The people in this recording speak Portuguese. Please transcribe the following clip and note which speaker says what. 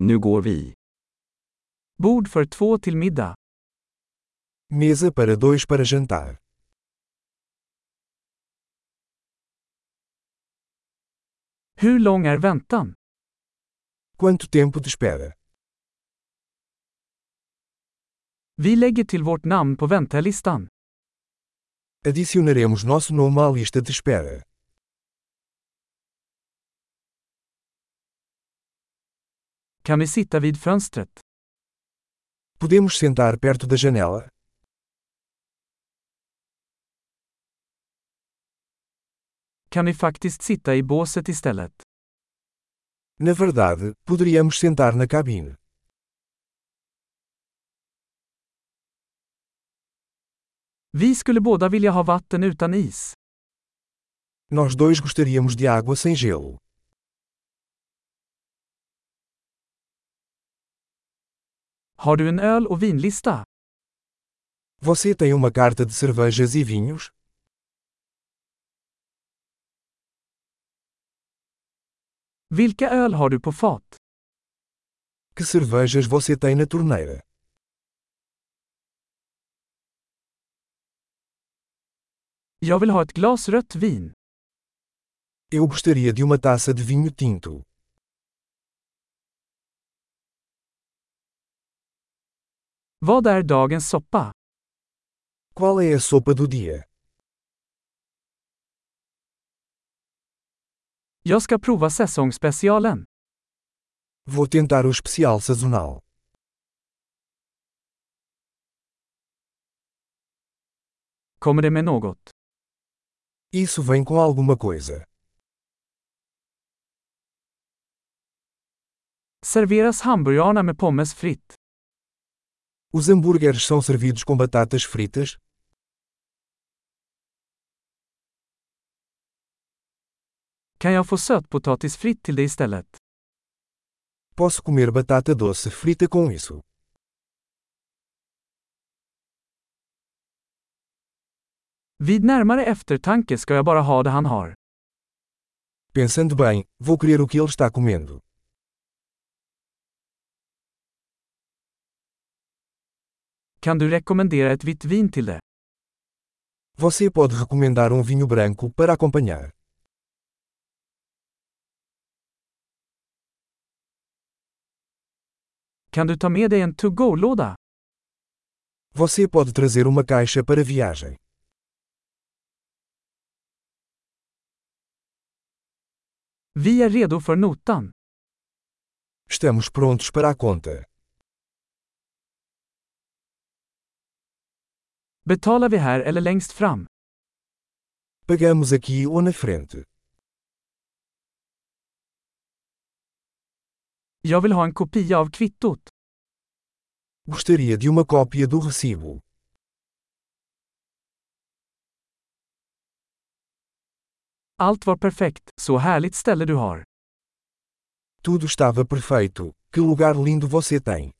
Speaker 1: Nu går vi.
Speaker 2: Bord för två till middag.
Speaker 3: Mesa para dois para jantar.
Speaker 2: Hur lång är väntan?
Speaker 3: Quanto tempo de espera?
Speaker 2: Vi lägger till vårt namn på väntelistan.
Speaker 3: Adicionaremos nosso nome à lista de espera.
Speaker 2: Kan vi sitta vid fönstret?
Speaker 3: Podemos sentar perto da janela?
Speaker 2: Kan vi faktiskt sitta i båset istället?
Speaker 3: Na verdade, poderíamos sentar na cabine.
Speaker 2: Vi skulle båda vilja ha vatten utan is.
Speaker 3: Nós dois gostaríamos de água sem gelo.
Speaker 2: Har du en öl och vinlista?
Speaker 3: Você tem uma carta de cervejas e vinhos?
Speaker 2: Vilka öl har du på fat?
Speaker 3: Que cervejas você tem na torneira?
Speaker 2: Jag vill ha ett glas rött vin.
Speaker 3: Eu gostaria de uma taça de vinho tinto.
Speaker 2: Vad är dagens soppa?
Speaker 3: Qual é a sopa do dia?
Speaker 2: Jag ska prova säsongsspecialen.
Speaker 3: Vou tentar o especial sazonal.
Speaker 2: Kommer det med något?
Speaker 3: Isso vem com alguma coisa.
Speaker 2: Serveras hamburgarna med pommes fritt?
Speaker 3: Os hambúrgueres são servidos com batatas fritas?
Speaker 2: Kan jag få sötpotatis fritt till det istället?
Speaker 3: Posso comer batata doce frita com isso?
Speaker 2: Vid närmare eftertanke ska jag bara ha det han har.
Speaker 3: Pensando bem, vou querer o que ele está comendo.
Speaker 2: Kan du rekommendera ett vitt vin till det?
Speaker 3: Você pode recomendar um vinho branco para acompanhar.
Speaker 2: Kan du ta med dig en to-go-låda?
Speaker 3: Você pode trazer uma caixa para viagem.
Speaker 2: Vi är redo för notan.
Speaker 3: Estamos prontos para a conta.
Speaker 2: Betalar vi här eller längst fram?
Speaker 3: Pagamos aqui ou na frente.
Speaker 2: Jag vill ha en kopia av kvittot.
Speaker 3: Gostaria de uma cópia do recibo.
Speaker 2: Allt var perfekt, så härligt ställe du har.
Speaker 3: Tudo estava perfeito. Que lugar lindo você tem!